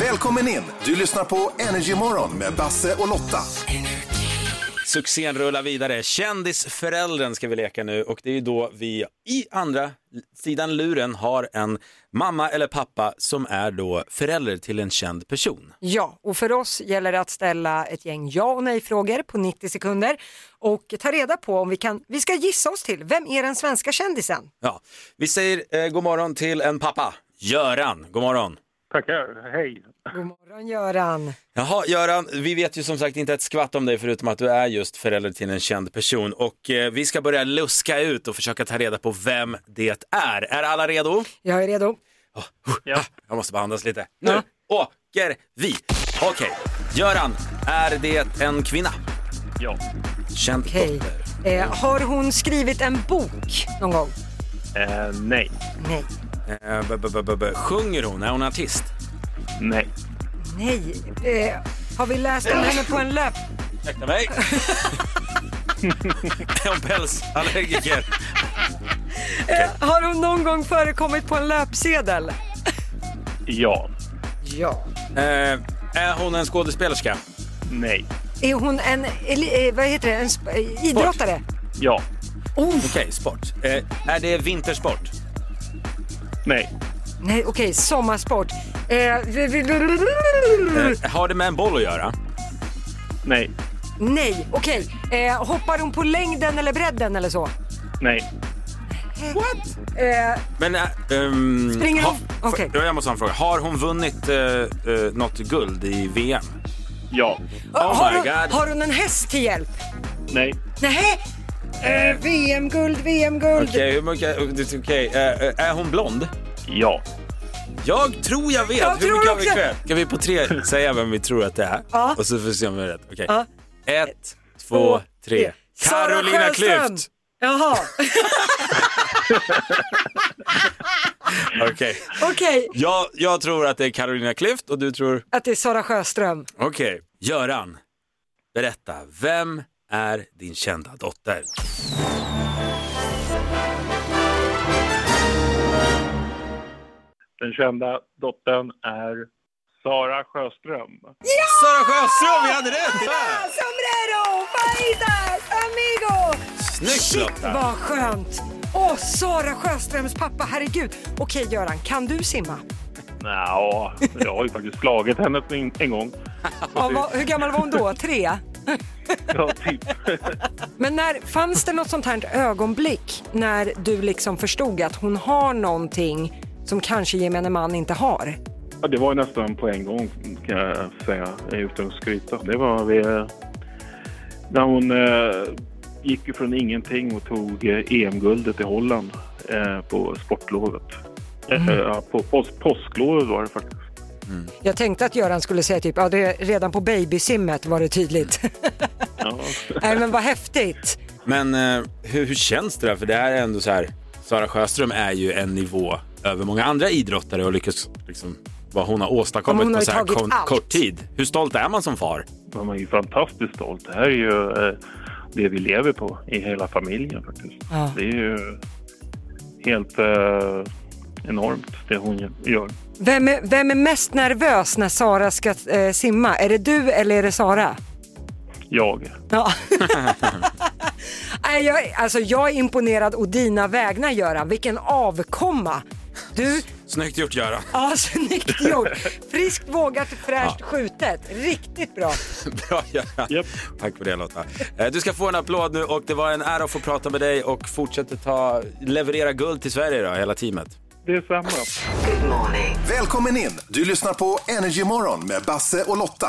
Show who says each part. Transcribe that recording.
Speaker 1: Välkommen in! Du lyssnar på Energymorgon med Basse och Lotta.
Speaker 2: Succén rullar vidare. Kändisföräldern ska vi leka nu och det är ju då vi i andra sidan luren har en mamma eller pappa som är då förälder till en känd person.
Speaker 3: Ja, och för oss gäller det att ställa ett gäng ja och nej-frågor på 90 sekunder och ta reda på om vi kan, vi ska gissa oss till, vem är den svenska kändisen?
Speaker 2: Ja, vi säger eh, god morgon till en pappa, Göran. God morgon.
Speaker 4: Tackar, hej.
Speaker 3: God morgon Göran.
Speaker 2: Jaha, Göran, vi vet ju som sagt inte ett skvatt om dig förutom att du är just förälder till en känd person och eh, vi ska börja luska ut och försöka ta reda på vem det är. Är alla redo?
Speaker 3: Jag är redo.
Speaker 4: Ja.
Speaker 2: Ah, Jag måste bara andas lite. Nu åker vi! Okej, Göran, är det en kvinna?
Speaker 4: Ja.
Speaker 2: Känd
Speaker 3: Okej.
Speaker 2: dotter.
Speaker 3: Eh, har hon skrivit en bok någon gång?
Speaker 4: Eh, nej.
Speaker 3: Nej.
Speaker 2: Eh, b- b- b- b- b- Sjunger hon? Är hon artist?
Speaker 4: Nej.
Speaker 3: Nej. Eh, har vi läst om henne på en löp?
Speaker 2: Ursäkta mig. är hon pälsallergiker?
Speaker 3: Har hon någon gång förekommit på en löpsedel?
Speaker 4: Ja.
Speaker 3: Ja.
Speaker 2: Eh, är hon en skådespelerska?
Speaker 4: Nej.
Speaker 3: Är hon en, eli- eh, vad heter det, en sp- eh, idrottare?
Speaker 4: Ja.
Speaker 3: Oh,
Speaker 2: Okej, sport. Eh, är det vintersport?
Speaker 4: Nej.
Speaker 3: nej okej, sommarsport. Eh, Mm.
Speaker 2: Eh, har det med en boll att göra?
Speaker 4: Nej.
Speaker 3: nej, okej. Eh, hoppar hon på längden eller bredden eller så?
Speaker 4: Nej.
Speaker 2: What?
Speaker 3: Eh,
Speaker 2: Men, äh, um,
Speaker 3: Springer hon- okej.
Speaker 2: Jag måste ha en fråga. Har hon vunnit eh, eh, något guld i VM?
Speaker 4: Ja.
Speaker 3: har,
Speaker 2: Oh my
Speaker 3: hon,
Speaker 2: God.
Speaker 3: har hon en häst till hjälp?
Speaker 4: Nej.
Speaker 3: Nej. Eh, VM-guld, VM-guld.
Speaker 2: Okej, hur mycket... Okej, eh, eh, är hon blond?
Speaker 4: Ja.
Speaker 2: Jag tror jag vet.
Speaker 3: Jag
Speaker 2: hur
Speaker 3: tror
Speaker 2: mycket har vi
Speaker 3: också.
Speaker 2: kvar? Kan vi på tre säga vem vi tror att det är?
Speaker 3: Ja.
Speaker 2: Och så får vi se om vi är rätt. Okej.
Speaker 3: Ja.
Speaker 2: Ett, två, tre.
Speaker 3: Sara
Speaker 2: Carolina
Speaker 3: Sjöström.
Speaker 2: Klüft!
Speaker 3: Jaha,
Speaker 2: Okej.
Speaker 3: okej.
Speaker 2: Jag, jag tror att det är Carolina Klüft och du tror...
Speaker 3: Att det är Sara Sjöström.
Speaker 2: Okej. Göran, berätta. Vem är din kända dotter?
Speaker 4: Den kända dottern är Sara Sjöström.
Speaker 2: Sara Sjöström, vi hade rätt! Ja!
Speaker 3: Sombrero, fajitas, amigo!
Speaker 2: Snyggt
Speaker 3: Shit
Speaker 2: Lotta!
Speaker 3: vad skönt! Åh, Sara Sjöströms pappa, herregud. Okej Göran, kan du simma?
Speaker 4: Nja, jag har ju faktiskt slagit henne på en, en gång.
Speaker 3: Ja, vad, hur gammal var hon då? Tre?
Speaker 4: Ja, typ.
Speaker 3: Men när, fanns det något sånt här ögonblick när du liksom förstod att hon har någonting som kanske gemene man inte har?
Speaker 4: Ja, det var ju nästan på en gång kan jag säga, utan att skryta. Det var vi, eh, när hon eh, gick ju från ingenting och tog eh, EM-guldet i Holland eh, på sportlovet. Eh, ja, på pås påsklovet var det faktiskt.
Speaker 3: Jag tänkte att Göran skulle säga typ, ja det är redan på babysimmet var det tydligt.
Speaker 4: Ja.
Speaker 3: Nej men vad häftigt.
Speaker 2: Men eh, hur, hur känns det där? För det här är ändå så här, Sara Sjöström är ju en nivå över många andra idrottare och lyckas liksom vad hon har
Speaker 3: Ja, men
Speaker 2: åstadkommit
Speaker 3: hon har
Speaker 2: på
Speaker 3: ju
Speaker 2: så här
Speaker 3: tagit
Speaker 2: kon-
Speaker 3: allt.
Speaker 2: kort tid. Hur stolt är man som far?
Speaker 4: Man är ju fantastiskt stolt. Det här är ju eh, det vi lever på i hela familjen faktiskt.
Speaker 3: Ja.
Speaker 4: Det är ju helt eh, enormt det hon gör.
Speaker 3: Vem är, vem är mest nervös när Sara ska eh, simma? Är det du eller är det Sara?
Speaker 4: Jag.
Speaker 3: Ja. Nej, jag, alltså, jag är imponerad å dina vägnar Göran, vilken avkomma. Du,
Speaker 2: Snyggt gjort Göran.
Speaker 3: ja snyggt gjort. Friskt vågat, fräscht skjutet. Riktigt bra.
Speaker 2: Bra Göran.
Speaker 4: Japp.
Speaker 2: Tack för det Lotta. Eh, Du ska få en applåd nu och det var en ära att få prata med dig och fortsätta ta, leverera guld till Sverige då, hela teamet.
Speaker 4: Det är samma.
Speaker 1: Välkommen in! Du lyssnar på Energymorgon med Basse och Lotta.